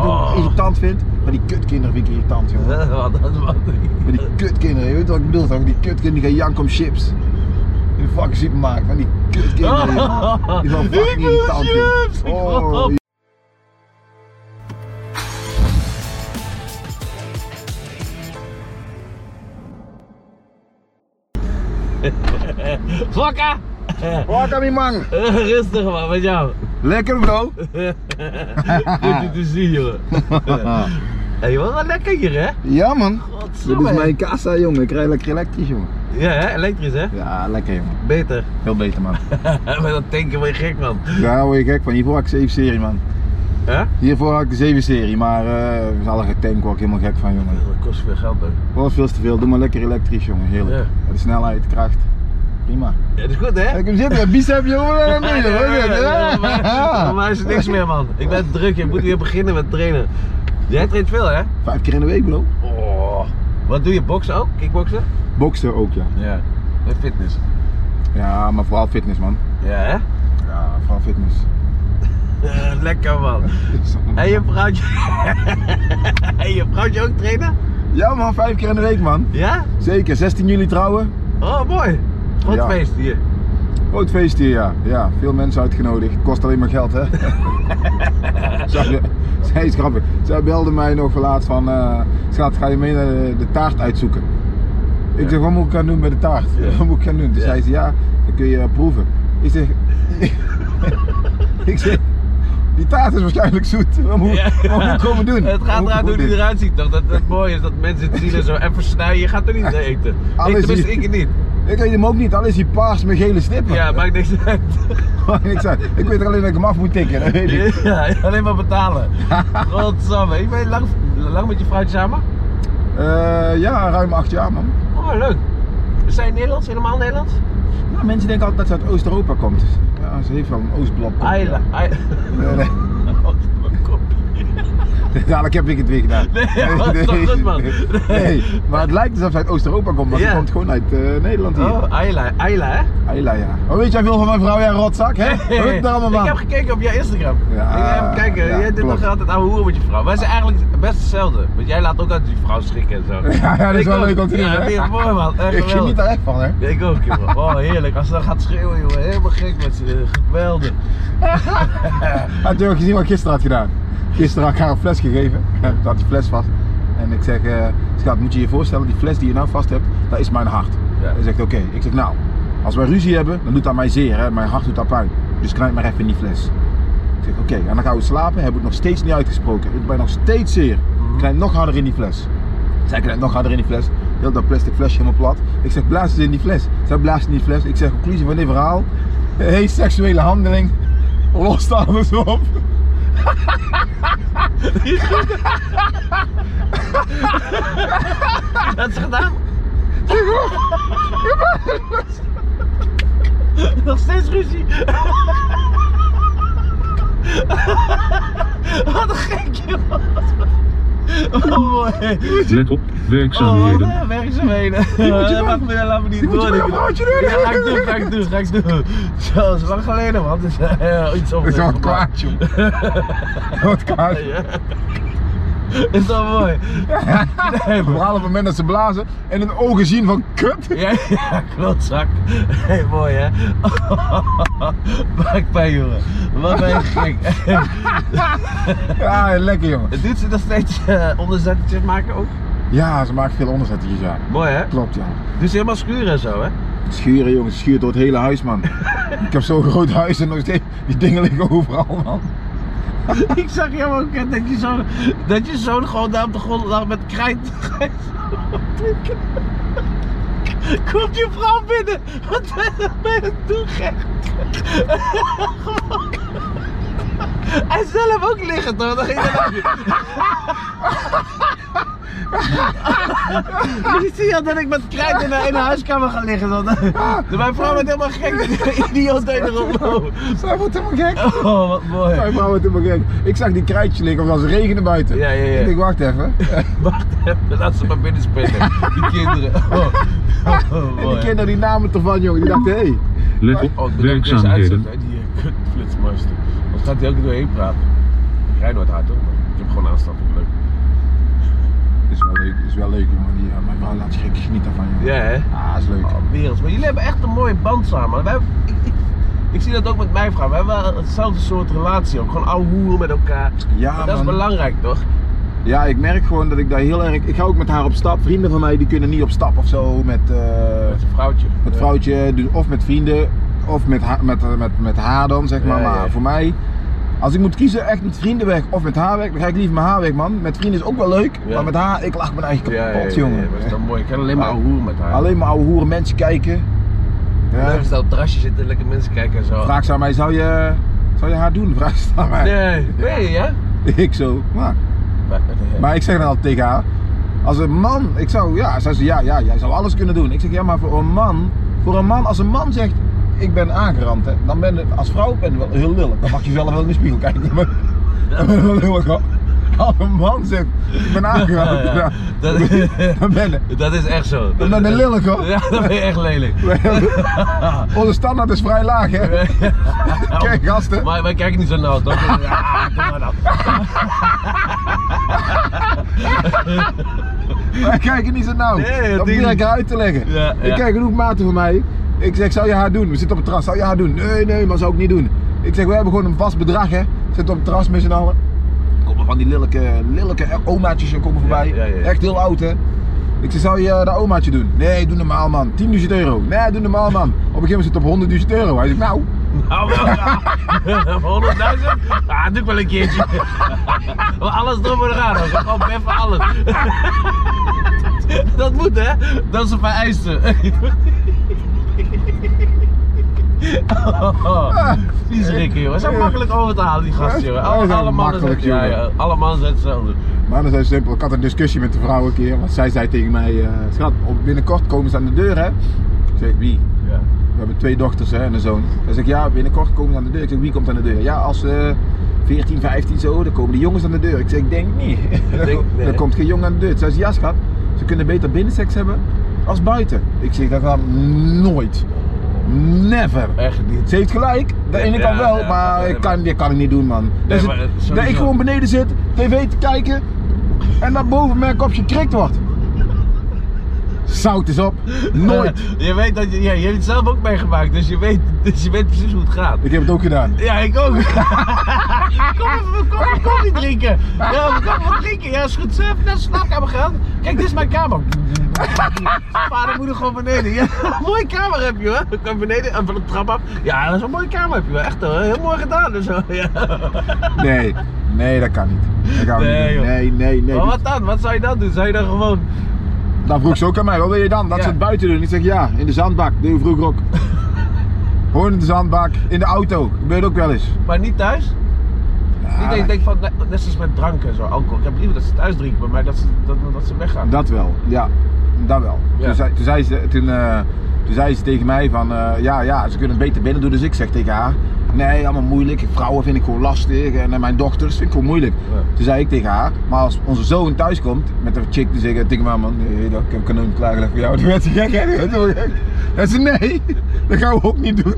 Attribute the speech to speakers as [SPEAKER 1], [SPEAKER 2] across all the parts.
[SPEAKER 1] Oh.
[SPEAKER 2] irritant vind. Maar die kutkinderen vind ik irritant, jongen.
[SPEAKER 1] Ja, dat mag niet.
[SPEAKER 2] Maar die kutkinderen, je weet wat ik bedoel toch? Die kutkinderen die gaan janken om chips. In de fucking supermarkt, van die kutkinderen, jongen. Die van
[SPEAKER 1] Ik
[SPEAKER 2] fucking
[SPEAKER 1] wil
[SPEAKER 2] irritant
[SPEAKER 1] chips,
[SPEAKER 2] vind.
[SPEAKER 1] ik wil
[SPEAKER 2] Oh,
[SPEAKER 1] op. Fokka!
[SPEAKER 2] Wat aan die man?
[SPEAKER 1] Rustig man, met jou.
[SPEAKER 2] Lekker bro.
[SPEAKER 1] Goed je te zien, jongen. Hé, wat wel lekker hier, hè?
[SPEAKER 2] Ja man. Dit
[SPEAKER 1] Godsamme,
[SPEAKER 2] is
[SPEAKER 1] hè?
[SPEAKER 2] mijn kassa jongen, ik rij lekker elektrisch jongen.
[SPEAKER 1] Ja, hè? elektrisch, hè?
[SPEAKER 2] Ja, lekker jongen.
[SPEAKER 1] Beter.
[SPEAKER 2] Veel beter man.
[SPEAKER 1] Met dat tanken word je gek, man.
[SPEAKER 2] Ja, word je gek van. Hiervoor had ik 7 serie man.
[SPEAKER 1] Hè?
[SPEAKER 2] Hiervoor had ik de 7 serie, maar eh is alle tank word ik helemaal gek van jongen.
[SPEAKER 1] Dat kost veel geld, hè?
[SPEAKER 2] Was veel te veel, doe maar lekker elektrisch jongen, heerlijk. De snelheid, kracht, prima.
[SPEAKER 1] Ja, dat is goed, hè?
[SPEAKER 2] Ik hem zitten, bicep jongen en
[SPEAKER 1] Ja,
[SPEAKER 2] mee,
[SPEAKER 1] ja, ja, ja, maar-
[SPEAKER 2] jongen.
[SPEAKER 1] maar is het niks meer man. Ik ben druk, je moet weer beginnen met trainen. Jij traint veel hè?
[SPEAKER 2] Vijf keer in de week bro.
[SPEAKER 1] Oh. Wat doe je, boksen ook? Kickboksen?
[SPEAKER 2] Boksen ook ja.
[SPEAKER 1] Ja. En fitness.
[SPEAKER 2] Ja, maar vooral fitness man.
[SPEAKER 1] Ja hè?
[SPEAKER 2] Ja, vooral fitness.
[SPEAKER 1] Eh, lekker man. En je vrouwtje... en je vrouwtje ook trainen?
[SPEAKER 2] Ja man, vijf keer in de week man.
[SPEAKER 1] Ja?
[SPEAKER 2] Zeker, 16 juli trouwen.
[SPEAKER 1] Oh mooi. Groot
[SPEAKER 2] Ja.
[SPEAKER 1] feest hier.
[SPEAKER 2] Groot feest hier, ja. ja. Veel mensen uitgenodigd. Kost alleen maar geld, hè? Zij- Zij is grappig. Zij belde mij nog laatst van... eh schat, ga je mee naar de, de taart uitzoeken? Ik
[SPEAKER 1] Ja.
[SPEAKER 2] zeg, wat moet ik gaan doen met de taart?
[SPEAKER 1] Ja.
[SPEAKER 2] Wat moet ik gaan doen? Toen
[SPEAKER 1] Ja.
[SPEAKER 2] zei ze, ja, dan kun je eh, proeven. Ik zeg... ik zeg... Die taart is waarschijnlijk zoet. Wat moet,
[SPEAKER 1] Ja.
[SPEAKER 2] wat moet ik komen doen?
[SPEAKER 1] Het
[SPEAKER 2] Wat moet
[SPEAKER 1] gaat
[SPEAKER 2] ik
[SPEAKER 1] eruit hoe
[SPEAKER 2] komen
[SPEAKER 1] die
[SPEAKER 2] doen?
[SPEAKER 1] eruit ziet toch? Dat het mooi is dat mensen het zien en zo even snijden. Je gaat er niet naar eten. Ik,
[SPEAKER 2] Alles
[SPEAKER 1] tenminste,
[SPEAKER 2] hier.
[SPEAKER 1] ik niet.
[SPEAKER 2] Ik weet hem ook niet, al is hij paars met gele stippen.
[SPEAKER 1] Ja, maakt niks uit.
[SPEAKER 2] Niks uit. Ik weet alleen dat ik hem af moet tikken, dat weet ik.
[SPEAKER 1] Ja, alleen maar betalen. Godsamme. Ik ben lang, lang met je vrouwtje samen?
[SPEAKER 2] Eh, ja, ruim acht jaar man.
[SPEAKER 1] Oh, leuk. Zijn Nederlands? Helemaal Nederlands?
[SPEAKER 2] Nou, mensen denken altijd dat ze uit Oost-Europa komt. Ja, ze heeft wel een Oostblok.
[SPEAKER 1] Ayla. Ayla.
[SPEAKER 2] Nee, nee.
[SPEAKER 1] Oh, mijn kopie.
[SPEAKER 2] Dadelijk heb ik het weer gedaan.
[SPEAKER 1] Nee, maar toch goed, man.
[SPEAKER 2] Nee, Nee, maar het lijkt alsof ze uit Oost-Europa komt, maar
[SPEAKER 1] Ja.
[SPEAKER 2] ze komt gewoon uit eh, Nederland hier.
[SPEAKER 1] Oh, Ayla. Ayla, hè?
[SPEAKER 2] Ayla, ja. Oh, weet jij veel van mijn vrouw, jij rotzak, hè? Hup, daar allemaal
[SPEAKER 1] Ik
[SPEAKER 2] man.
[SPEAKER 1] heb gekeken op jouw Instagram.
[SPEAKER 2] Ja,
[SPEAKER 1] ik heb kijken,
[SPEAKER 2] ja,
[SPEAKER 1] jij doet
[SPEAKER 2] klopt.
[SPEAKER 1] toch altijd ouwe hoeren met je vrouw. Wij zijn eigenlijk best hetzelfde. Want jij laat ook altijd je vrouw schrikken en zo.
[SPEAKER 2] Ja, ja, dat is
[SPEAKER 1] Ik
[SPEAKER 2] wel
[SPEAKER 1] ook.
[SPEAKER 2] leuk om te doen,
[SPEAKER 1] Ja,
[SPEAKER 2] hè?
[SPEAKER 1] vind je het mooi, man. Echt
[SPEAKER 2] Ik
[SPEAKER 1] geweldig.
[SPEAKER 2] geniet daar echt van, hè?
[SPEAKER 1] Ja, Ik ook, jongen. Oh, heerlijk. Als ze dan gaat schreeuwen, jongen. Helemaal gek met ze. Geweldig.
[SPEAKER 2] Had je ook gezien wat ik gisteren had gedaan? Gisteren had ik haar een fles gegeven. Er zat die fles vast. En ik zeg, eh, schat, moet je je voorstellen, die fles die je nou vast hebt, dat is mijn hart.
[SPEAKER 1] Ja.
[SPEAKER 2] Hij zegt, oké. Ik zeg, nou, als wij ruzie hebben, dan doet dat mij zeer. Hè? Mijn hart doet dat pijn. Dus knijp maar even in die fles. Ik zeg, oké. En dan gaan we slapen. Heb ik het nog steeds niet uitgesproken. Het doet mij nog steeds zeer. Knijp nog harder in die fles. Zij knijpt nog harder in die fles. Heel dat plastic flesje helemaal plat. Ik zeg, blaas eens in die fles. Zij blaast in die fles. Ik zeg, conclusie van dit verhaal. Hey, seksuele handeling. Lost alles op.
[SPEAKER 1] Had ze gedaan? Nog steeds ruzie. Wat een gek, joh. Oh, mooi.
[SPEAKER 3] Let op, werkzaamheden.
[SPEAKER 1] Oh, werkzaamheden.
[SPEAKER 2] moet je
[SPEAKER 1] Dat mag
[SPEAKER 2] doen.
[SPEAKER 1] me Eh, laat me niet
[SPEAKER 2] Die moet je
[SPEAKER 1] door.
[SPEAKER 2] doen, moet je doen.
[SPEAKER 1] Ja, ga ik doen, ga ik doen, ga ik doen. Zo, dat is lang geleden, man. Dat is eh, iets op.
[SPEAKER 2] Dat is wel kwaad, joh. Wat kwaad.
[SPEAKER 1] Is dat mooi? Nee, man.
[SPEAKER 2] Vooral op het moment dat ze blazen en hun ogen zien van kut.
[SPEAKER 1] Ja, ja, klotzak. Hey, mooi hè? Buikpijn jongen. Wat ben je gek.
[SPEAKER 2] Ja, lekker jongen.
[SPEAKER 1] Doet ze nog steeds eh onderzettetjes maken ook?
[SPEAKER 2] Ja, ze maakt veel onderzet hier, ja.
[SPEAKER 1] Mooi hè?
[SPEAKER 2] Klopt, ja.
[SPEAKER 1] Doet ze helemaal schuren en zo hè?
[SPEAKER 2] Schuren, jongens, schuurt door het hele huis, man. Ik heb zo'n groot huis en nog steeds, die dingen liggen overal, man.
[SPEAKER 1] Ik zag jou ook hè, dat je zo'n dat je zo'n gewoon daar op de grond lag met krijt. Komt je vrouw binnen? Wat ben je aan het doen gek? Gewoon. Hij zelf ook liggen toch? Dan ging hij ook- Je ziet al dat ik met krijt in de, in de huiskamer ga liggen. Dan. Mijn vrouw wordt helemaal gek. Die idioot deed erop lopen.
[SPEAKER 2] Zij wordt helemaal gek.
[SPEAKER 1] Oh, wat mooi.
[SPEAKER 2] Mijn vrouw wordt helemaal gek. Ik zag die krijtje liggen, want het was regenen buiten.
[SPEAKER 1] Ja, ja, ja.
[SPEAKER 2] Ik denk, wacht even.
[SPEAKER 1] Wacht even, laat ze maar binnen spelen. Die kinderen. Oh, oh, oh,
[SPEAKER 2] En die
[SPEAKER 1] mooi.
[SPEAKER 2] kinderen die namen het ervan, jongen. Die dachten, hé. Hey.
[SPEAKER 3] Let op,
[SPEAKER 1] Oh, ik bedoel, ik deze
[SPEAKER 3] werkzaamheden.
[SPEAKER 1] uitzet, hè, die eh, kutflitsmeister. Wat gaat hij elke keer doorheen praten? Ik rij nooit hard hoor, maar ik heb gewoon aanstappen. Leuk.
[SPEAKER 2] is wel leuk, jongen. Die, eh, mijn vrouw laat zich gek genieten van je.
[SPEAKER 1] Ja, hè?
[SPEAKER 2] Ah, is leuk.
[SPEAKER 1] Oh, werelds. Maar jullie hebben echt een mooie band samen. Wij, hebben- ik, ik, ik zie dat ook met mijn vrouw. We hebben wel hetzelfde soort relatie ook. Gewoon ouwe hoeren met elkaar.
[SPEAKER 2] Ja,
[SPEAKER 1] dat is
[SPEAKER 2] man.
[SPEAKER 1] belangrijk, toch?
[SPEAKER 2] Ja, ik merk gewoon dat ik daar heel erg. Ik ga ook met haar op stap. Vrienden van mij die kunnen niet op stap of zo met, eh,
[SPEAKER 1] Met zijn vrouwtje.
[SPEAKER 2] met
[SPEAKER 1] Ja.
[SPEAKER 2] vrouwtje, dus of met vrienden, of met, ha- met, eh, met, met haar dan zeg maar.
[SPEAKER 1] Ja, ja.
[SPEAKER 2] Maar voor mij, als ik moet kiezen echt met vrienden weg of met haar weg, dan ga ik liever met haar weg, man. Met vrienden is ook wel leuk,
[SPEAKER 1] Ja.
[SPEAKER 2] maar met haar, ik lach mijn eigen kapot,
[SPEAKER 1] Ja, ja, ja, ja,
[SPEAKER 2] jongen.
[SPEAKER 1] maar dat is dan mooi. Ik kan alleen maar ouwe hoeren met haar.
[SPEAKER 2] Alleen maar ouwe hoeren, mensen kijken. Ja.
[SPEAKER 1] Leuk is dat op het terrasje zitten, lekker mensen kijken en zo.
[SPEAKER 2] Vraag ze aan mij, zou je, zou je haar doen? Vraag ze aan mij.
[SPEAKER 1] Nee, weet je, ja?
[SPEAKER 2] Ik zo, maar.
[SPEAKER 1] Maar,
[SPEAKER 2] Maar ik zeg dan altijd tegen haar, als een man, ik zou, ja, zij ze, ja, ja, jij zou alles kunnen doen. Ik zeg, ja, maar voor een man, voor een man, als een man zegt, ik ben aangerand, hè, dan ben je, als vrouw ben je wel heel lullig. Dan mag je zelf wel in de spiegel kijken. Maar, dan ben je wel heel erg- als een man zegt, ik ben aangerand,
[SPEAKER 1] Ja, ja.
[SPEAKER 2] dan-
[SPEAKER 1] Dat-
[SPEAKER 2] dan ben je.
[SPEAKER 1] dat is echt zo.
[SPEAKER 2] Dan ben je lullig hoor.
[SPEAKER 1] Ja, dat ben je echt lelijk.
[SPEAKER 2] Onze standaard is vrij laag hè. Kijk gasten.
[SPEAKER 1] Maar wij kijken niet zo nauw, toch? Ja, kom maar dan.
[SPEAKER 2] Wij kijken niet zo nauw.
[SPEAKER 1] Nee, dat
[SPEAKER 2] dat
[SPEAKER 1] ding-
[SPEAKER 2] probeer ik haar uit te leggen.
[SPEAKER 1] Ja, ja.
[SPEAKER 2] Ik kijk genoeg maten van mij. Ik zeg, zou je haar doen? We zitten op het terras. Zou je haar doen? Nee, nee, maar zou ik niet doen. Ik zeg, we hebben gewoon een vast bedrag, hè. Zitten op het terras met z'n allen. Komen van die lelijke, lelijke omaatjes komen voorbij.
[SPEAKER 1] ja, ja.
[SPEAKER 2] Echt heel oud, hè. Ik zeg, zou je eh, dat omaatje doen? Nee, doe normaal, man. 10.000 euro. Nee, doe normaal, man. Op een gegeven moment zit het op 100.000 euro. Hij zegt, nou,
[SPEAKER 1] Nou, wel, ja. Voor 100.000? Ah, doe ik wel een keertje. Maar alles erop en eraan, hoor. Gewoon beffen alles. Dat moet, hè? Dat is een vereiste. Oh, vies rikken, jongen. Ze zijn makkelijk over te halen, die gasten, jongen.
[SPEAKER 2] Wij
[SPEAKER 1] Alle,
[SPEAKER 2] zijn
[SPEAKER 1] alle mannen zijn,
[SPEAKER 2] makkelijk,
[SPEAKER 1] ja, ja,
[SPEAKER 2] jongen.
[SPEAKER 1] alle mannen zijn hetzelfde.
[SPEAKER 2] Maar dat is simpel. Ik had een discussie met de vrouw een keer. Want zij zei tegen mij, eh, schat, op- binnenkort komen ze aan de deur, hè. Ik zeg, wie?
[SPEAKER 1] Ja.
[SPEAKER 2] We hebben twee dochters hè, en een zoon. Dan zeg ik, ja, binnenkort komen ze aan de deur. Ik zeg, wie komt aan de deur? Ja, als ze 14, 15 zo, dan komen de jongens aan de deur. Ik zeg, ik denk niet.
[SPEAKER 1] denk- nee.
[SPEAKER 2] Er komt geen jongen aan de deur. Zij zei, ja schat, ze kunnen beter binnenseks hebben als buiten. Ik zeg, dat gaat nooit. Never.
[SPEAKER 1] Echt niet.
[SPEAKER 2] Ze heeft gelijk, de ene
[SPEAKER 1] Ja,
[SPEAKER 2] kan wel,
[SPEAKER 1] ja,
[SPEAKER 2] maar
[SPEAKER 1] nee,
[SPEAKER 2] ik kan, dit kan ik niet doen, man.
[SPEAKER 1] Nee,
[SPEAKER 2] Dus
[SPEAKER 1] maar
[SPEAKER 2] het-
[SPEAKER 1] sowieso.
[SPEAKER 2] dat ik gewoon beneden zit, tv te kijken en naar boven mijn kopje gekrikt wordt. Zout is op, nooit.
[SPEAKER 1] Eh, je weet dat je, ja, je hebt het zelf ook meegemaakt, dus je weet, dus je weet precies hoe het gaat.
[SPEAKER 2] Ik heb het ook gedaan.
[SPEAKER 1] Ja, ik ook. kom even, kom even koffie drinken. Ja, kom even wat drinken. Ja, is goed. Zef, naar de slaapkamer gaan. Kijk, dit is mijn kamer. Vader, moeder, gewoon beneden. Ja, een mooie kamer heb je hoor. Ik kwam beneden en van de trap af. Ja, dat is een mooie kamer heb je hoor. Echt hoor. Heel mooi gedaan en zo. Ja.
[SPEAKER 2] Nee, nee, dat kan niet. Dat gaan we
[SPEAKER 1] Nee,
[SPEAKER 2] niet doen.
[SPEAKER 1] joh.
[SPEAKER 2] Nee, nee, nee.
[SPEAKER 1] Maar wat dan? Wat zou je dan doen? Zou je dan gewoon...
[SPEAKER 2] Dan vroeg ze ook aan mij, wat wil je dan? Dat
[SPEAKER 1] Ja.
[SPEAKER 2] ze het buiten doen. Ik zeg ja, in de zandbak. Deed we vroeger ook. Gewoon in de zandbak, in de auto. Gebeurt ook wel eens.
[SPEAKER 1] Maar niet thuis? niet dat je
[SPEAKER 2] Ja,
[SPEAKER 1] denkt van, net- net zoals met drank en zo, alcohol. Ik heb liever dat ze thuis drinken, maar mij dat ze, dat, dat ze weggaan.
[SPEAKER 2] Dat wel, ja. Dat wel.
[SPEAKER 1] Ja.
[SPEAKER 2] Toen, zei, toen, zei ze, toen, eh, toen zei ze tegen mij van, eh, ja, ja, ze kunnen het beter binnen doen. Dus ik zeg tegen haar, nee, allemaal moeilijk. Vrouwen vind ik gewoon lastig. En eh, mijn dochters vind ik gewoon moeilijk.
[SPEAKER 1] Ja.
[SPEAKER 2] Toen zei ik tegen haar, maar als onze zoon thuis komt met een chick die zegt tegen mij, man, nee, dat, ik heb een kanon klaargelegd voor jou. Toen werd ze gek, hè? Toen werd ze wel gek. Hij zei, nee, dat gaan we ook niet doen.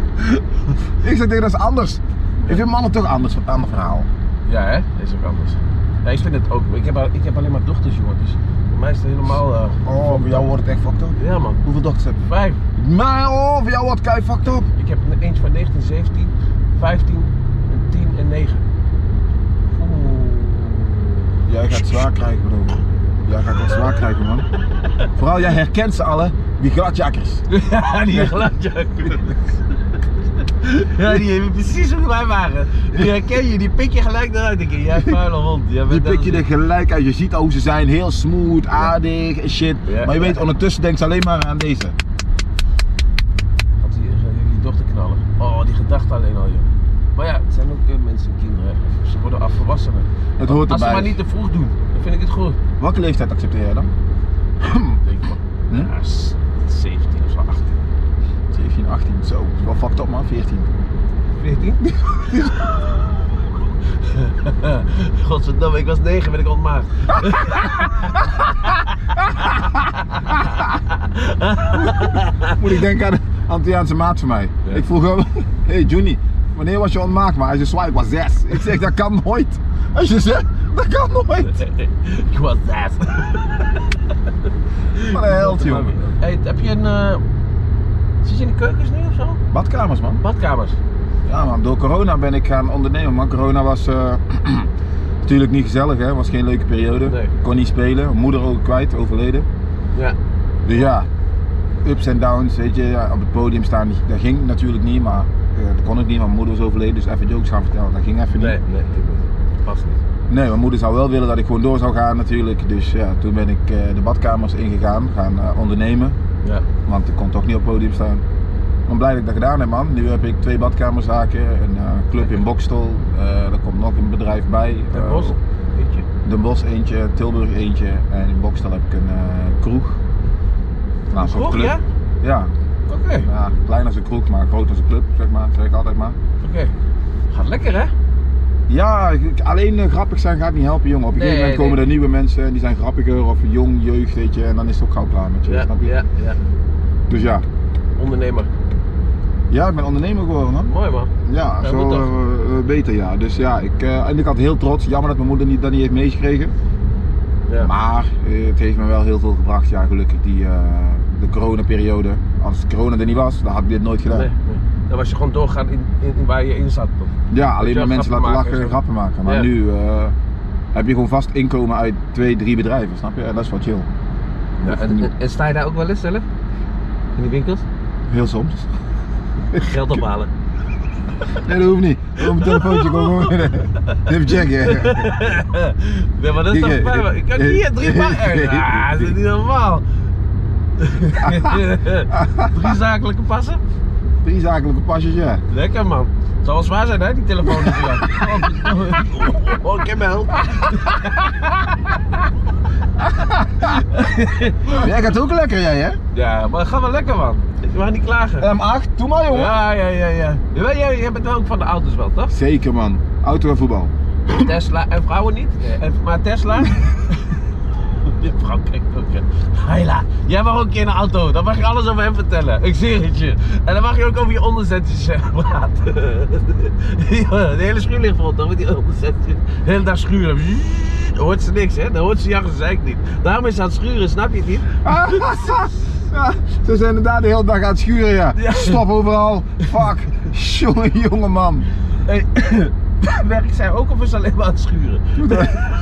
[SPEAKER 2] ik zeg tegen haar, dat is anders. Ik vind mannen toch anders, een ander verhaal.
[SPEAKER 1] Ja, hè? Dat is ook anders. Ja, ik vind het ook. Ik heb, al- ik heb alleen maar dochters, jongen. Dus voor mij is het helemaal. eh,
[SPEAKER 2] Oh, voor jou wordt het echt fucked up.
[SPEAKER 1] ja, man.
[SPEAKER 2] Hoeveel dochters heb je?
[SPEAKER 1] Vijf.
[SPEAKER 2] Maar oh, voor jou wordt kei fucked up.
[SPEAKER 1] Ik heb een eentje van 19, 17, 15, en 10 en 9. Oeh.
[SPEAKER 2] Jij gaat zwaar krijgen, bro. Jij gaat echt zwaar krijgen, man. Vooral jij herkent ze alle, die gladjakkers.
[SPEAKER 1] Ja, die gladjak. Ja, die hebben precies hoe wij waren. Die herken je, die pik je gelijk eruit. Ik denk, jij vuile hond. Jij
[SPEAKER 2] Die
[SPEAKER 1] bent
[SPEAKER 2] pik je
[SPEAKER 1] net
[SPEAKER 2] er
[SPEAKER 1] als
[SPEAKER 2] gelijk uit. Je ziet hoe ze zijn, heel smooth, aardig en shit.
[SPEAKER 1] Ja,
[SPEAKER 2] maar je
[SPEAKER 1] ja.
[SPEAKER 2] weet, ondertussen denkt ze alleen maar aan deze.
[SPEAKER 1] ik. Had eh, die, die dochter knallen. Oh, die gedachte alleen al, joh. Maar ja, het zijn ook eh, mensen, kinderen. hè. Ze worden afvolwassenen.
[SPEAKER 2] Het hoort
[SPEAKER 1] Als ze maar
[SPEAKER 2] erbij.
[SPEAKER 1] niet te vroeg doen, dan vind ik het goed.
[SPEAKER 2] Welke leeftijd accepteer jij dan?
[SPEAKER 1] Denk ik wel.
[SPEAKER 2] Hm?
[SPEAKER 1] Ja, s- 17 of zo, 18.
[SPEAKER 2] 17, 18, zo. Dat is wel fucked up, man. 14.
[SPEAKER 1] 14? Godverdomme, ik was 9, ben ik ontmaagd.
[SPEAKER 2] Moet ik denken aan de Antilliaanse maat van mij.
[SPEAKER 1] Ja.
[SPEAKER 2] Ik vroeg hem, hey Juni, wanneer was je ontmaakt? Maar hij zei, "Zwaai, ik was zes. Ik zeg, dat kan nooit. Als je zes, Dat kan nooit.
[SPEAKER 1] Ik was that.
[SPEAKER 2] Wat een held, joh.
[SPEAKER 1] Hey, heb je een. eh, Zit je in de keukens nu of zo?
[SPEAKER 2] Badkamers, man.
[SPEAKER 1] Badkamers.
[SPEAKER 2] Ja man, door corona ben ik gaan ondernemen. Maar corona was eh, natuurlijk niet gezellig, hè? was geen leuke periode.
[SPEAKER 1] Nee.
[SPEAKER 2] Kon niet spelen, moeder ook kwijt, overleden.
[SPEAKER 1] Ja.
[SPEAKER 2] Dus ja, ups en downs, weet je, ja, op het podium staan, dat ging natuurlijk niet, maar eh, dat kon ik niet, want mijn moeder was overleden, dus even jokes gaan vertellen, dat ging even niet.
[SPEAKER 1] Nee, nee, dit niet. Dat past niet.
[SPEAKER 2] Nee, mijn moeder zou wel willen dat ik gewoon door zou gaan natuurlijk, dus ja, toen ben ik eh, de badkamers ingegaan, gaan eh, ondernemen,
[SPEAKER 1] Ja.
[SPEAKER 2] want ik kon toch niet op het podium staan. Ik ben blij dat ik dat gedaan heb, man. Nu heb ik twee badkamerzaken, een eh, club in Bokstel, eh er komt nog een bedrijf bij.
[SPEAKER 1] Het
[SPEAKER 2] eh,
[SPEAKER 1] bos. Weet je.
[SPEAKER 2] Den Bosch eentje, Tilburg eentje en in Bokstel heb ik een eh, kroeg. Nou, een soort
[SPEAKER 1] Kroeg,
[SPEAKER 2] club.
[SPEAKER 1] ja?
[SPEAKER 2] Ja,
[SPEAKER 1] Oké.
[SPEAKER 2] ja, klein als een kroeg, maar groot als een club, zeg maar, zeg ik altijd maar.
[SPEAKER 1] Oké. Gaat lekker, hè?
[SPEAKER 2] Ja, ik- alleen eh, grappig zijn gaat niet helpen, jongen. Op een
[SPEAKER 1] Nee,
[SPEAKER 2] gegeven moment
[SPEAKER 1] nee.
[SPEAKER 2] komen er nieuwe mensen en die zijn grappiger of jong, jeugd, weet je, en dan is het ook gauw klaar met je, snap je?
[SPEAKER 1] ja, ja.
[SPEAKER 2] Dus ja.
[SPEAKER 1] Ondernemer.
[SPEAKER 2] Ja, ik ben ondernemer geworden, man.
[SPEAKER 1] Mooi, man.
[SPEAKER 2] Ja,
[SPEAKER 1] Ja,
[SPEAKER 2] zo
[SPEAKER 1] moet toch?
[SPEAKER 2] eh, eh, beter, ja. Dus ja, ik, eh, en ik had heel trots. Jammer dat mijn moeder niet, dat niet heeft meegekregen.
[SPEAKER 1] Ja.
[SPEAKER 2] Maar eh, het heeft me wel heel veel gebracht, ja, gelukkig, die, eh, de coronaperiode. Als corona er niet was, dan had ik dit nooit gedaan.
[SPEAKER 1] Nee, nee. Dan was je gewoon doorgaan in, in, in waar je in zat. toch?
[SPEAKER 2] Ja, alleen
[SPEAKER 1] je
[SPEAKER 2] maar
[SPEAKER 1] wel
[SPEAKER 2] mensen
[SPEAKER 1] grappen
[SPEAKER 2] laten lachen
[SPEAKER 1] maken en
[SPEAKER 2] en
[SPEAKER 1] zo.
[SPEAKER 2] grappen maken. Maar
[SPEAKER 1] Ja.
[SPEAKER 2] nu eh, heb je gewoon vast inkomen uit twee, drie bedrijven, snap je? En dat is wat chill.
[SPEAKER 1] Ja, en, en- en sta je daar ook wel eens zelf? In die winkels?
[SPEAKER 2] Heel soms.
[SPEAKER 1] Geld ophalen.
[SPEAKER 2] Nee, dat hoeft niet. Op mijn telefoontje komen. Even checken.
[SPEAKER 1] nee, maar dat is toch
[SPEAKER 2] Ik-
[SPEAKER 1] fijn, man. Ik kan
[SPEAKER 2] ik-
[SPEAKER 1] hier drie pakken. Ah, dat is niet normaal. drie zakelijke passen?
[SPEAKER 2] Drie zakelijke pasjes, ja.
[SPEAKER 1] Lekker man. Het zal wel zwaar zijn hè, die telefoon die je hebt. Oh, ik heb me help.
[SPEAKER 2] Jij gaat ook lekker, jij, hè?
[SPEAKER 1] Ja, maar ga wel lekker man. Ik mag niet klagen.
[SPEAKER 2] M8, doe maar, jongen.
[SPEAKER 1] Ja, ja, ja, ja. Jawel, jij, jij bent wel ook van de auto's wel, toch?
[SPEAKER 2] Zeker, man. Auto en voetbal.
[SPEAKER 1] Tesla en vrouwen niet. En, maar Tesla. Je vrouw kijkt ook. hè. Hayla, jij mag ook een keer in een auto. Dan mag je alles over hem vertellen. Ik zie het je. En dan mag je ook over je onderzetjes eh, praten. Ja, de hele schuur ligt vol toch met die onderzetjes. De hele dag schuren. Dan hoort ze niks, hè? Dan hoort ze jouw gezeik niet. Daarom is ze aan het schuren, snap je het niet?
[SPEAKER 2] Ah, ja, ze zijn inderdaad de hele dag aan het schuren, ja.
[SPEAKER 1] Ja.
[SPEAKER 2] Stop overal. Fuck. Jongen, jongen, man.
[SPEAKER 1] Hey, werkt zij ook of is ze alleen maar aan het schuren?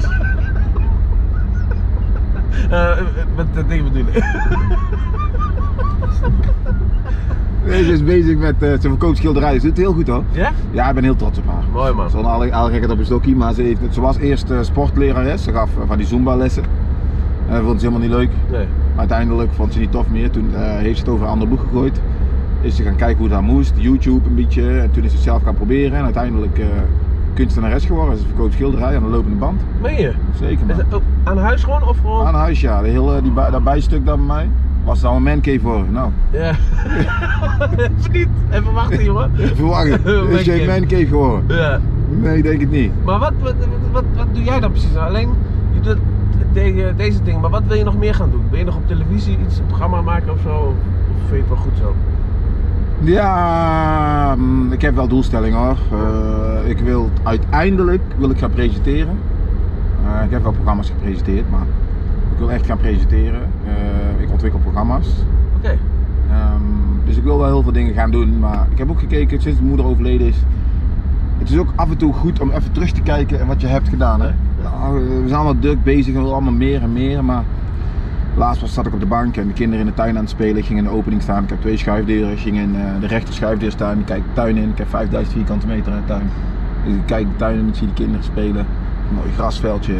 [SPEAKER 1] Eh, met dat ding bedoel ik.
[SPEAKER 2] Deze is bezig met eh ze verkoopt schilderijen. Ze doet het heel goed, hoor.
[SPEAKER 1] Ja?
[SPEAKER 2] Ja, ik ben heel trots op haar.
[SPEAKER 1] Mooi man.
[SPEAKER 2] Ze had al, al gekheid op een stokje, maar ze, heeft, ze was eerst eh, sportlerares. Ze gaf eh, van die Zumba-lessen. En dat vond ze helemaal niet leuk.
[SPEAKER 1] Nee.
[SPEAKER 2] Maar uiteindelijk vond ze niet tof meer. Toen eh, heeft ze het over een ander boek gegooid. Is ze gaan kijken hoe dat moest, YouTube een beetje. En toen is ze het zelf gaan proberen. En uiteindelijk eh, kunstenares geworden. Ze verkoopt schilderijen aan de lopende band.
[SPEAKER 1] Meen je?
[SPEAKER 2] Zeker
[SPEAKER 1] Is
[SPEAKER 2] man.
[SPEAKER 1] dat ook aan huis gewoon of gewoon?
[SPEAKER 2] Aan huis ja, de hele, die, bij- dat bijstuk daar bij mij. Was dan een man cave voor. Nou,
[SPEAKER 1] Ja. even niet. Even wachten, jongen.
[SPEAKER 2] verwachten. Is je een
[SPEAKER 1] Mancave.
[SPEAKER 2] man cave geworden?
[SPEAKER 1] Ja.
[SPEAKER 2] Nee, ik denk het niet.
[SPEAKER 1] Maar wat, wat, wat, wat doe jij dan precies? Alleen je doet de- deze ding, maar wat wil je nog meer gaan doen? Wil je nog op televisie iets, een programma maken of zo? Of vind je het wel goed zo?
[SPEAKER 2] Ja, mm, ik heb wel doelstellingen hoor. Eh, ik wil uiteindelijk wil ik gaan presenteren. Eh, ik heb wel programma's gepresenteerd, maar ik wil echt gaan presenteren. Eh, ik ontwikkel programma's.
[SPEAKER 1] Oké.
[SPEAKER 2] Ehm, dus ik wil wel heel veel dingen gaan doen, maar ik heb ook gekeken sinds mijn moeder overleden is. Het is ook af en toe goed om even terug te kijken en wat je hebt gedaan. Hè? Nou, eh, we zijn allemaal druk bezig en we willen allemaal meer en meer, maar laatst was, zat ik op de bank en de kinderen in de tuin aan het spelen. Ik ging in de opening staan, ik heb twee schuifdeuren, ik ging in eh, de rechter schuifdeur staan. Ik kijk de tuin in, ik heb 5000 vierkante meter in de tuin. Dus ik kijk de tuin in, ik zie de kinderen spelen. mooi grasveldje, eh,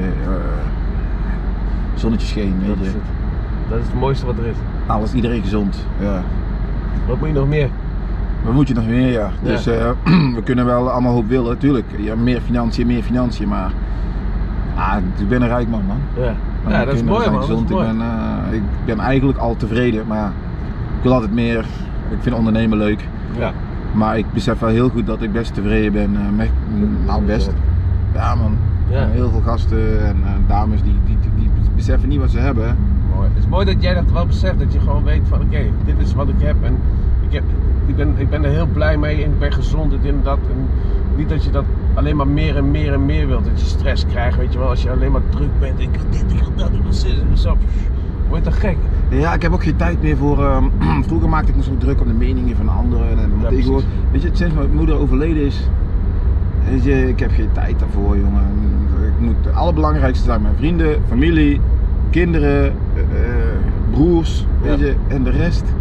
[SPEAKER 2] zonnetje scheen, weet
[SPEAKER 1] Dat
[SPEAKER 2] je.
[SPEAKER 1] is het. Dat is het mooiste wat er is.
[SPEAKER 2] alles, iedereen gezond. Ja.
[SPEAKER 1] Wat moet je nog meer?
[SPEAKER 2] We moeten nog meer, ja. Dus eh, we kunnen wel allemaal hoop willen, natuurlijk. Ja, meer financiën, meer financiën, maar ah, ik ben een rijk man, man.
[SPEAKER 1] Ja, Nou,
[SPEAKER 2] Mijn
[SPEAKER 1] ja dat is
[SPEAKER 2] kinderen
[SPEAKER 1] mooi
[SPEAKER 2] zijn
[SPEAKER 1] man. Dat is
[SPEAKER 2] gezond.
[SPEAKER 1] mooi.
[SPEAKER 2] Ik, ben, eh, ik ben eigenlijk al tevreden, maar ik wil altijd meer. Ik vind ondernemen leuk,
[SPEAKER 1] Ja.
[SPEAKER 2] maar ik besef wel heel goed dat ik best tevreden ben. eh, met, nou, best. Ja, man.
[SPEAKER 1] Ja.
[SPEAKER 2] Heel veel gasten en eh, dames die, die, die, die beseffen niet wat ze hebben. hè.
[SPEAKER 1] Mooi. Het is mooi dat jij dat wel beseft, dat je gewoon weet van oké, dit is wat ik heb en ik, heb, ik, ben, ik ben er heel blij mee en ik ben gezond en dit en dat. En niet dat je dat alleen maar meer en meer en meer wilt. Dat je stress krijgt, weet je wel. Als je alleen maar druk bent. Ik wil dit, ik wil dat, ik wil zus, ik wil zo. Word je toch gek?
[SPEAKER 2] Ja, ik heb ook geen tijd meer voor. ehm, vroeger maakte ik me zo druk om de meningen van anderen. En
[SPEAKER 1] Ja,
[SPEAKER 2] wat ik
[SPEAKER 1] precies.
[SPEAKER 2] hoor. Weet je, sinds mijn moeder overleden is. Weet je, ik heb geen tijd daarvoor, jongen. Ik moet, het allerbelangrijkste zijn mijn vrienden, familie, kinderen, eh, eh, broers. Weet
[SPEAKER 1] Ja.
[SPEAKER 2] je, en de rest.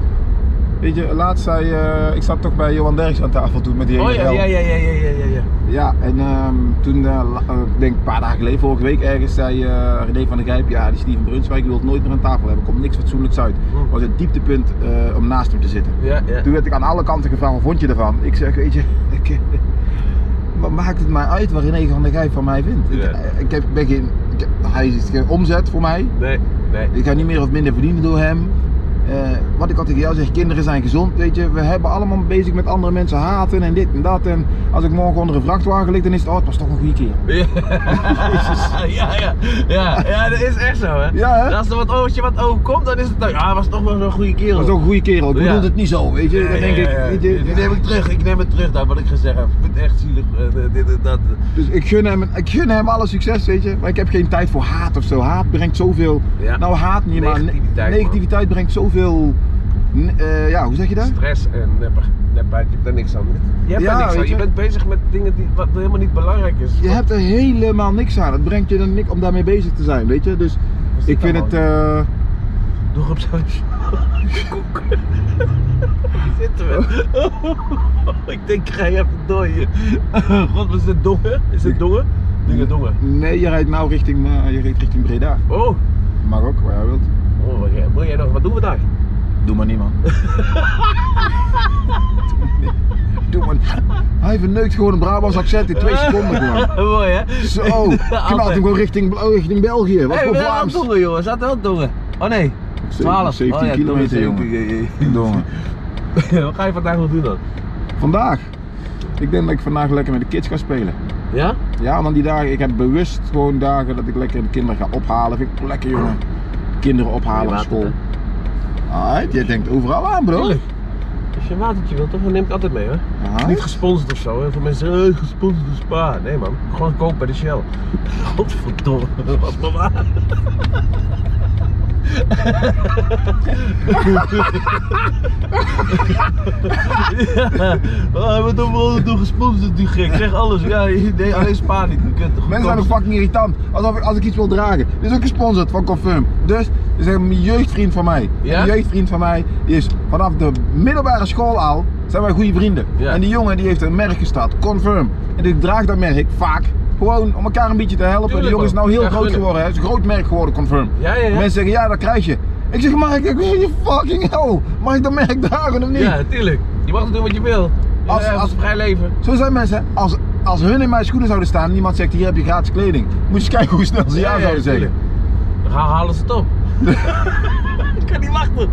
[SPEAKER 2] Weet je, laatst zei. eh, ik zat toch bij Johan Derks aan tafel toen met die hele
[SPEAKER 1] Oh ja,
[SPEAKER 2] rel.
[SPEAKER 1] ja, ja, ja, ja, ja, ja. ja.
[SPEAKER 2] Ja, en ehm, toen, eh, la- eh, ik denk een paar dagen geleden, vorige week ergens, zei eh, René van der Grijp, ja, die Steven Brunswijk die wil het nooit meer aan tafel hebben, komt niks fatsoenlijks uit.
[SPEAKER 1] Hm.
[SPEAKER 2] was het dieptepunt eh, om naast hem te zitten.
[SPEAKER 1] Ja, ja.
[SPEAKER 2] Toen werd ik aan alle kanten gevraagd, wat vond je ervan? Ik zeg, weet je, ik, eh, wat maakt het mij uit waar René van der Grijp van mij vindt? Ik,
[SPEAKER 1] Ja.
[SPEAKER 2] eh, ik heb, ben geen, ik heb- hij is geen omzet voor mij,
[SPEAKER 1] Nee, nee.
[SPEAKER 2] ik ga niet meer of minder verdienen door hem. Eh, wat ik al tegen jou zeg, kinderen zijn gezond, weet je. We hebben allemaal bezig met andere mensen haten en dit en dat. En als ik morgen onder een vrachtwagen lig, dan is het, oh, het was toch een goede keer.
[SPEAKER 1] Ja. ja, ja, ja, ja, dat is echt zo, hè?
[SPEAKER 2] Ja, hè?
[SPEAKER 1] Als er wat, als je wat overkomt, dan is het nou, ja, hij was toch wel zo'n goede
[SPEAKER 2] Het
[SPEAKER 1] kerel.
[SPEAKER 2] was toch een goede kerel. Ik
[SPEAKER 1] Ja.
[SPEAKER 2] bedoel het niet zo, weet je.
[SPEAKER 1] Ja,
[SPEAKER 2] Dan
[SPEAKER 1] ja,
[SPEAKER 2] denk ik,
[SPEAKER 1] ja, ja.
[SPEAKER 2] weet je,
[SPEAKER 1] Dit neem ik terug, ik neem het terug daar wat ik gezegd heb. Ik vind het echt zielig, eh, dit en dat.
[SPEAKER 2] Dus ik gun, hem, ik gun hem alle succes, weet je. Maar ik heb geen tijd voor haat of zo. Haat brengt zoveel.
[SPEAKER 1] Ja.
[SPEAKER 2] Nou, haat niet, maar ne-
[SPEAKER 1] Negativiteit, man.
[SPEAKER 2] negativiteit brengt zoveel. ne- eh, ja, hoe zeg je dat?
[SPEAKER 1] Stress en nepper, nepheid, je hebt daar niks aan. Je hebt
[SPEAKER 2] Ja,
[SPEAKER 1] daar niks aan,
[SPEAKER 2] weet
[SPEAKER 1] je
[SPEAKER 2] je.
[SPEAKER 1] bent bezig met dingen die, wat helemaal niet belangrijk is.
[SPEAKER 2] Je hebt er helemaal niks aan. Het brengt je dan niks om daarmee bezig te zijn, weet je. Dus
[SPEAKER 1] is
[SPEAKER 2] ik
[SPEAKER 1] dit
[SPEAKER 2] vind het.
[SPEAKER 1] allemaal?
[SPEAKER 2] eh,
[SPEAKER 1] Nog op zo'n koek. Hier zitten we. ik denk, ik ga je even door hier. God, wat is dit dongen? Is dit dongen? Dingen dongen.
[SPEAKER 2] Nee, je rijdt nou richting, eh, je rijdt richting Breda.
[SPEAKER 1] Oh,
[SPEAKER 2] Mag ook, waar jij wilt.
[SPEAKER 1] oh wat jij- wil jij nog, wat doen we daar?
[SPEAKER 2] Doe maar niet, man. Doe maar. Hij verneukt gewoon een Brabants accent in twee seconden gewoon.
[SPEAKER 1] Mooi hè?
[SPEAKER 2] Zo, knalt hem gewoon richting, oh, richting België. Wat
[SPEAKER 1] Hey,
[SPEAKER 2] voor
[SPEAKER 1] we zijn aan het
[SPEAKER 2] Vlaams.
[SPEAKER 1] dongen jongen, zat wel dongen. Oh nee, 12.
[SPEAKER 2] 17
[SPEAKER 1] oh, ja,
[SPEAKER 2] kilometer,
[SPEAKER 1] dongen,
[SPEAKER 2] jongen.
[SPEAKER 1] 17, jee,
[SPEAKER 2] Jongen.
[SPEAKER 1] jee. Wat ga je vandaag nog doen dan?
[SPEAKER 2] Vandaag. Ik denk dat ik vandaag lekker met de kids ga spelen.
[SPEAKER 1] Ja?
[SPEAKER 2] Ja, want die dagen, ik heb bewust gewoon dagen dat ik lekker de kinderen ga ophalen. Vind ik lekker, jongen. Kinderen ophalen op
[SPEAKER 1] Laat het,
[SPEAKER 2] school. Alright, jij denkt overal aan, bro.
[SPEAKER 1] Tuurlijk. Als je een watertje wilt, toch? Dan neem ik altijd mee hoor. Niet
[SPEAKER 2] Alright.
[SPEAKER 1] gesponsord of zo. Heel veel mensen zeggen, hey, gesponsord door Spa. Nee man, gewoon koop bij de Shell. Godverdomme, dat was maar waar. ja, hij wordt overal door gesponsord, die gek. Zeg alles. Ja, nee, alleen Spa niet. Je kunt
[SPEAKER 2] Mensen
[SPEAKER 1] toch
[SPEAKER 2] zijn
[SPEAKER 1] goedkoop-
[SPEAKER 2] ook fucking irritant. Alsof ik, als ik iets wil dragen. Dit is ook gesponsord van Confirm. Dus, dit is een jeugdvriend van mij.
[SPEAKER 1] Ja?
[SPEAKER 2] Een jeugdvriend van mij die is vanaf de middelbare school al, zijn wij goede vrienden.
[SPEAKER 1] Ja.
[SPEAKER 2] En die jongen die heeft een merk gestart, Confirm. En ik draag dat merk vaak. Gewoon om elkaar een beetje te helpen.
[SPEAKER 1] Tuurlijk,
[SPEAKER 2] die jongen is
[SPEAKER 1] man.
[SPEAKER 2] nou heel
[SPEAKER 1] Ja,
[SPEAKER 2] groot
[SPEAKER 1] gunnen.
[SPEAKER 2] geworden. hè. Het is een groot merk geworden, Confirm.
[SPEAKER 1] Ja, ja, ja.
[SPEAKER 2] Mensen zeggen, ja, dat krijg je. Ik zeg, maar ik weet je fucking hell. Mag ik dat merk dragen of niet?
[SPEAKER 1] Ja, tuurlijk. Je mag doen wat je wil. Je
[SPEAKER 2] Als-
[SPEAKER 1] als,
[SPEAKER 2] als-
[SPEAKER 1] als vrij leven.
[SPEAKER 2] Zo zijn mensen, als, als hun in mijn schoenen zouden staan en iemand zegt, hier heb je gratis kleding. Moet je eens kijken hoe snel ze ja, zouden zeggen.
[SPEAKER 1] tuurlijk. Dan gaan halen ze het op. ik kan niet wachten.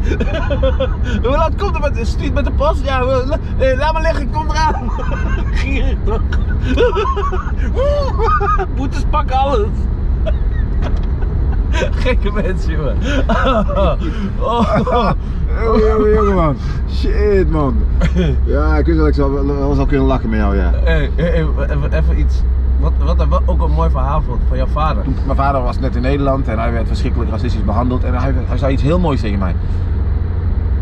[SPEAKER 1] Hoe laat komt het met, stuurt met de post? Ja, we- la- eh, laat maar liggen, ik kom eraan. Gierig toch? Woe, Boetes pakken alles. Gekke mensen, jongen. Oh.
[SPEAKER 2] Oh, jongen, jongen, man. Shit, man. Ja, ik wist dat ik zou, wel- wel zou kunnen lachen met jou, ja.
[SPEAKER 1] Hey, hey, hey, even, even iets. Wat, wat, wat ook een mooi verhaal vond van jouw vader.
[SPEAKER 2] Mijn vader was net in Nederland en hij werd verschrikkelijk racistisch behandeld. En hij, hij zei iets heel moois tegen mij.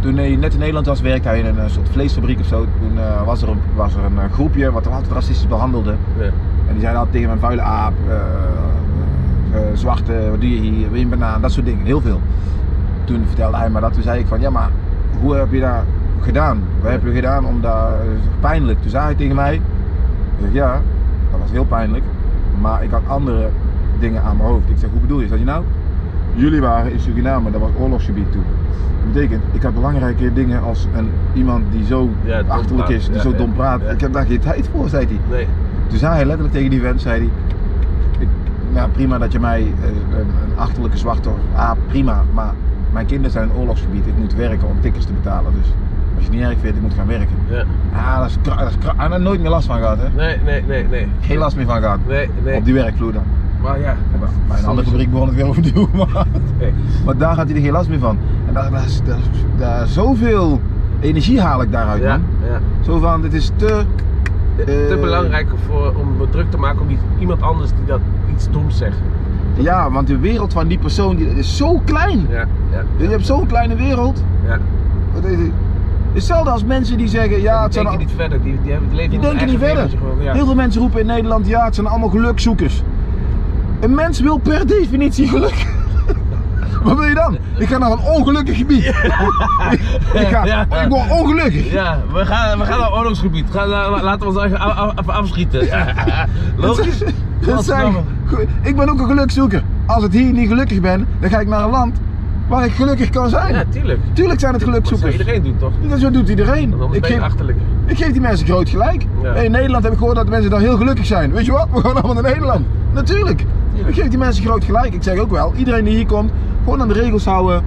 [SPEAKER 2] Toen hij net in Nederland was, werkte hij in een eh, soort vleesfabriek of zo. Toen eh, was, er een, was er een eh, groepje wat hem altijd racistisch behandelde.
[SPEAKER 1] Ja.
[SPEAKER 2] En die zeiden altijd tegen mijn vuile aap, eh, eh, zwarte, wat doe je hier, wil je een banaan, dat soort dingen, heel veel. Toen vertelde hij me dat, toen zei ik van, ja maar hoe heb je dat gedaan? Wat heb je gedaan om daar pijnlijk? Toen zei hij tegen mij, ik zeg ja, dat was heel pijnlijk, maar ik had andere dingen aan mijn hoofd. Ik zeg, hoe bedoel je, Zei je nou? Jullie waren in Suriname, dat was oorlogsgebied toen. Dat betekent, ik had belangrijke dingen als een, iemand die zo
[SPEAKER 1] Ja, dom
[SPEAKER 2] achterlijk
[SPEAKER 1] praat.
[SPEAKER 2] is, die
[SPEAKER 1] Ja,
[SPEAKER 2] zo
[SPEAKER 1] ja,
[SPEAKER 2] dom praat.
[SPEAKER 1] ja.
[SPEAKER 2] Ik heb daar geen tijd voor, zei hij.
[SPEAKER 1] Nee.
[SPEAKER 2] Toen zei hij letterlijk tegen die vent, zei hij, ik, ja, prima dat je mij, eh, een, een achterlijke zwarte, ah prima, maar mijn kinderen zijn in oorlogsgebied, ik moet werken om tickets te betalen, dus als je het niet erg vindt, ik moet gaan werken.
[SPEAKER 1] Ja.
[SPEAKER 2] Ah, dat is kra- dat is kra- Hij had er nooit meer last van gehad, hè?
[SPEAKER 1] Nee, nee, nee, nee.
[SPEAKER 2] Geen last meer van gehad.
[SPEAKER 1] Nee, nee.
[SPEAKER 2] Op die werkvloer dan.
[SPEAKER 1] Maar ja.
[SPEAKER 2] Maar Bij een andere fabriek begon het weer overnieuw, maar,
[SPEAKER 1] Nee.
[SPEAKER 2] maar daar had hij er geen last meer van. En daar, daar, is- daar, is- daar, zoveel energie haal ik daaruit,
[SPEAKER 1] Ja,
[SPEAKER 2] man.
[SPEAKER 1] ja.
[SPEAKER 2] Zo van, dit is te Eh,
[SPEAKER 1] Te belangrijk voor, om me druk te maken om iets- iemand anders die dat iets doms zegt.
[SPEAKER 2] Ja, want de wereld van die persoon die, is zo klein.
[SPEAKER 1] Ja, ja,
[SPEAKER 2] Je hebt zo'n kleine wereld.
[SPEAKER 1] ja.
[SPEAKER 2] Het is- Hetzelfde als mensen die zeggen, ja,
[SPEAKER 1] die
[SPEAKER 2] het zijn
[SPEAKER 1] denken niet verder, die, die hebben het leven
[SPEAKER 2] Die
[SPEAKER 1] in hun
[SPEAKER 2] denken niet verder.
[SPEAKER 1] eigen wereldje gewoon, ja.
[SPEAKER 2] Heel veel mensen roepen in Nederland, ja, het zijn allemaal gelukzoekers. Een mens wil per definitie geluk. Wat wil je dan? Ik ga naar een ongelukkig gebied. ik, ga,
[SPEAKER 1] Ja.
[SPEAKER 2] ik word ongelukkig.
[SPEAKER 1] Ja, we gaan, we gaan naar oorlogsgebied. Ga, la- la- laten we ons even af- af- af- afschieten. Logisch?
[SPEAKER 2] Dat zijn,
[SPEAKER 1] Godverdomme.
[SPEAKER 2] ge- ik ben ook een gelukzoeker. Als ik hier niet gelukkig ben, dan ga ik naar een land waar ik gelukkig kan zijn.
[SPEAKER 1] Ja, tuurlijk.
[SPEAKER 2] Tuurlijk zijn het
[SPEAKER 1] Dat zou
[SPEAKER 2] gelukzoekers.
[SPEAKER 1] iedereen doen, toch?
[SPEAKER 2] Dat zo doet iedereen.
[SPEAKER 1] Want anders
[SPEAKER 2] Ik
[SPEAKER 1] ben je
[SPEAKER 2] geef,
[SPEAKER 1] achterlijk.
[SPEAKER 2] ik geef die mensen groot gelijk.
[SPEAKER 1] Ja.
[SPEAKER 2] Hey, in Nederland heb ik gehoord dat de mensen daar heel gelukkig zijn. Weet je wat? We gaan allemaal naar Nederland. Natuurlijk.
[SPEAKER 1] Tuurlijk.
[SPEAKER 2] Ik geef die mensen groot gelijk. Ik zeg ook wel, iedereen die hier komt, gewoon aan de regels houden.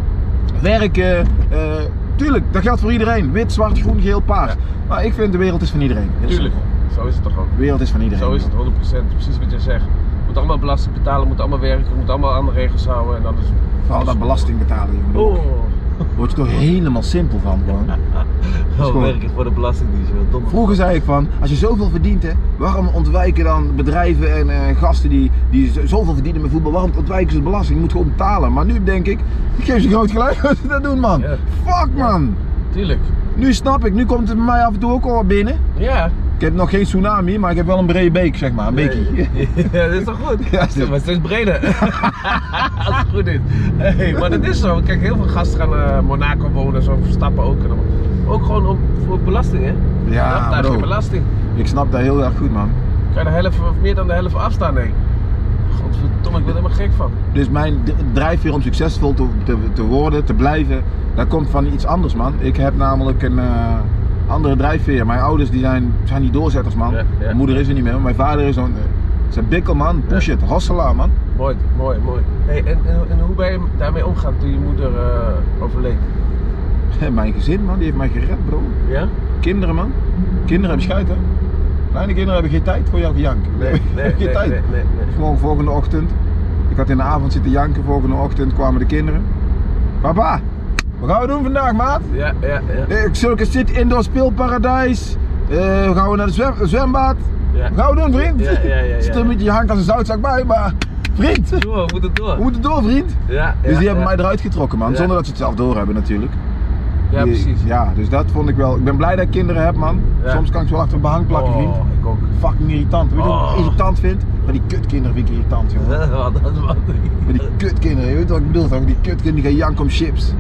[SPEAKER 2] Werken. eh, tuurlijk, dat geldt voor iedereen. Wit, zwart, groen, geel, paars. Maar ik vind de wereld is van iedereen. Heel
[SPEAKER 1] Tuurlijk.
[SPEAKER 2] simpel.
[SPEAKER 1] Zo is het toch ook.
[SPEAKER 2] De wereld is van iedereen.
[SPEAKER 1] Zo is het 100%. Precies wat jij zegt. We moeten allemaal belasting betalen, moeten allemaal werken, moeten allemaal aan de regels houden en dan is
[SPEAKER 2] Vooral dat belasting betalen, jongen.
[SPEAKER 1] Oh,
[SPEAKER 2] Word je toch helemaal simpel van, gewoon. gewoon-
[SPEAKER 1] gewoon werken Oh, voor de belastingdienst, joh. Domme.
[SPEAKER 2] Vroeger zei ik van, als je zoveel verdient, hè, waarom ontwijken dan bedrijven en eh, gasten die, die z- zoveel verdienen met voetbal, waarom ontwijken ze de belasting? Je moet gewoon betalen. Maar nu denk ik, ik geef ze groot gelijk als ze dat doen, man.
[SPEAKER 1] Ja.
[SPEAKER 2] Fuck, man.
[SPEAKER 1] Tuurlijk.
[SPEAKER 2] Nu snap ik, nu komt het bij mij af en toe ook al wat binnen.
[SPEAKER 1] Ja.
[SPEAKER 2] Ik heb nog geen tsunami, maar ik heb wel een brede beek, zeg maar, een beekje.
[SPEAKER 1] Ja, dat is toch goed?
[SPEAKER 2] Ja,
[SPEAKER 1] Ja,
[SPEAKER 2] dat is-
[SPEAKER 1] maar steeds breder. Als het goed is. Hey, maar dat is zo. Kijk, heel veel gasten gaan naar Monaco wonen en zo, stappen ook. En allemaal. ook gewoon om, voor belasting, hè?
[SPEAKER 2] Ja,
[SPEAKER 1] daar is
[SPEAKER 2] bro.
[SPEAKER 1] geen belasting.
[SPEAKER 2] Ik snap dat heel erg goed, man.
[SPEAKER 1] Kan je de helft of meer dan de helft afstaan, nee. Godverdomme, ik word er helemaal gek van.
[SPEAKER 2] Dus mijn d- drijfveer om succesvol te, te, te worden, te blijven, dat komt van iets anders, man. Ik heb namelijk een eh, andere drijfveer. Mijn ouders die zijn, zijn die doorzetters, man.
[SPEAKER 1] Ja, ja.
[SPEAKER 2] Mijn moeder is er niet meer. maar Mijn vader is zo'n eh, is een bikkel, man. Push it, hosselaar, man.
[SPEAKER 1] Mooi, mooi, mooi. Hey, en, en, en hoe ben je daarmee omgaan toen je moeder eh, overleed?
[SPEAKER 2] Mijn gezin, man, die heeft mij gered, bro.
[SPEAKER 1] Ja?
[SPEAKER 2] Kinderen, man. Kinderen hebben schijt, hè. Kleine kinderen hebben geen tijd voor jouw gejank. geen tijd.
[SPEAKER 1] nee, nee.
[SPEAKER 2] Gewoon volgende ochtend. Ik had in de avond zitten janken, volgende ochtend kwamen de kinderen. Papa, wat gaan we doen vandaag, maat?
[SPEAKER 1] Ja, ja, ja.
[SPEAKER 2] Eh, Ik zulke zit indoor speelparadijs. Eh, gaan we naar het zwem- zwembad?
[SPEAKER 1] ja.
[SPEAKER 2] Wat gaan we doen, vriend?
[SPEAKER 1] Ja, ja, ja, ja,
[SPEAKER 2] Zit er
[SPEAKER 1] ja.
[SPEAKER 2] een beetje je hangt als een zoutzak bij, maar vriend, we
[SPEAKER 1] Door, we moeten door.
[SPEAKER 2] moeten door, vriend.
[SPEAKER 1] Ja,
[SPEAKER 2] Dus
[SPEAKER 1] ja,
[SPEAKER 2] die hebben
[SPEAKER 1] ja.
[SPEAKER 2] mij eruit getrokken, man.
[SPEAKER 1] Ja.
[SPEAKER 2] Zonder dat ze het zelf doorhebben, natuurlijk.
[SPEAKER 1] Ja,
[SPEAKER 2] Die-
[SPEAKER 1] precies.
[SPEAKER 2] Ja, dus dat vond ik wel. Ik ben blij dat ik kinderen heb, man.
[SPEAKER 1] Ja.
[SPEAKER 2] Soms kan ik ze wel achter een behang plakken,
[SPEAKER 1] oh,
[SPEAKER 2] vriend.
[SPEAKER 1] ik ook.
[SPEAKER 2] Fucking irritant. Weet je wat ik
[SPEAKER 1] Oh.
[SPEAKER 2] irritant vind? Maar die kutkinderen vind ik irritant, joh.
[SPEAKER 1] Wat een man.
[SPEAKER 2] Maar die kutkinderen, je weet wat ik bedoel toch? Die kutkinderen die gaan janken om chips.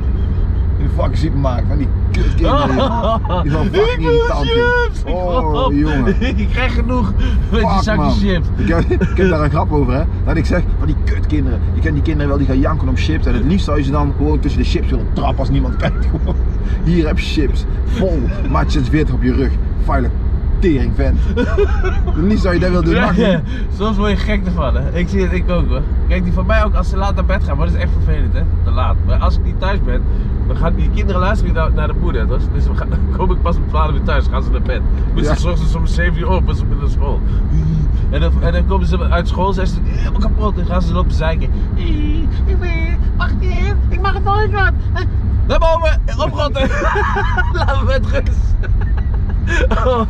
[SPEAKER 2] In de fucking supermarkt, van die kutkinderen. joh. Die zijn
[SPEAKER 1] Ik
[SPEAKER 2] fucking
[SPEAKER 1] wil
[SPEAKER 2] irritant, joh.
[SPEAKER 1] chips! Ik
[SPEAKER 2] Oh,
[SPEAKER 1] wil-
[SPEAKER 2] jongen.
[SPEAKER 1] Ik krijg genoeg met die
[SPEAKER 2] Fuck,
[SPEAKER 1] zakje
[SPEAKER 2] man.
[SPEAKER 1] chips.
[SPEAKER 2] Ik heb, ik heb daar een grap over, hè. Dat ik zeg, van die kutkinderen. Je kent die kinderen wel, die gaan janken om chips. En het liefst zou je ze dan gewoon tussen de chips willen trappen als niemand kijkt. gewoon. Hier heb je chips. Vol. Matjes wit op je rug. Vuile tering, vent. Het liefst zou je dat willen doen. Mag
[SPEAKER 1] Ja,
[SPEAKER 2] niet.
[SPEAKER 1] Soms word je gek ervan, hè. Ik zie het, ik ook hoor. Kijk, die van mij ook, als ze laat naar bed gaan, maar dat is echt vervelend, hè. Te laat. Maar als ik niet thuis ben, dan gaan die kinderen luisteren naar, naar de moeder. Dus, dus we gaan, dan kom ik pas om 12 uur thuis, gaan ze naar bed. Moeten
[SPEAKER 2] Ja.
[SPEAKER 1] ze 's ochtends om 7 uur op, als ze moeten naar school. En dan, en dan komen ze uit school, zijn ze helemaal kapot en gaan ze lopen zeiken. Ik ben- mag het niet in, ik mag het nooit wat. Naar boven, oprotten. Laat me met rust. Oh,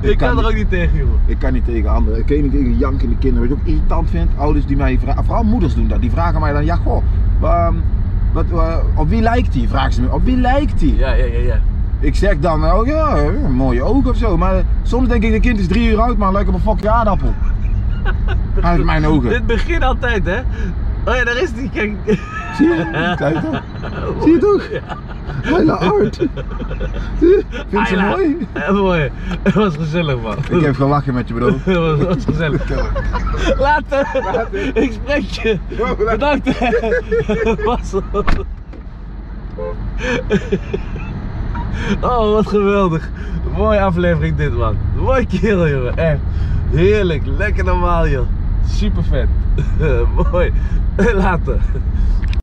[SPEAKER 1] ik,
[SPEAKER 2] kan
[SPEAKER 1] kan,
[SPEAKER 2] niet.
[SPEAKER 1] er ook niet tegen, joh.
[SPEAKER 2] Ik kan niet tegen anderen. Ik ken niet tegen jankende kinderen. Wat ik ook irritant vind, ouders die mij vragen, vooral moeders doen dat. Die vragen mij dan, ja goh, ehm, wat, eh, op wie lijkt die? Vragen ze me, op wie lijkt die?
[SPEAKER 1] Ja, ja, ja, ja.
[SPEAKER 2] Ik zeg dan, oh ja, een mooie ogen of zo. Maar soms denk ik, een kind is drie uur oud, maar lijkt op een fucking aardappel. Uit mijn ogen.
[SPEAKER 1] Dit begint altijd, hè? Oh ja, daar is die. Kijk. Ah,
[SPEAKER 2] Zie je? Kijk toch? Zie je toch? Bijna hard. Zie je? Vind je ze
[SPEAKER 1] Ayla.
[SPEAKER 2] mooi?
[SPEAKER 1] Heel mooi. Het was gezellig, man.
[SPEAKER 2] Ik heb gelachen met je bro.
[SPEAKER 1] Het was, het was gezellig. Later. Ik spreek je. Bedankt. hè. Was Oh, wat geweldig. Mooie aflevering dit, man. Mooi kerel, jongen. Echt. Heerlijk. Lekker normaal, joh. Super vet. Mooi. Later.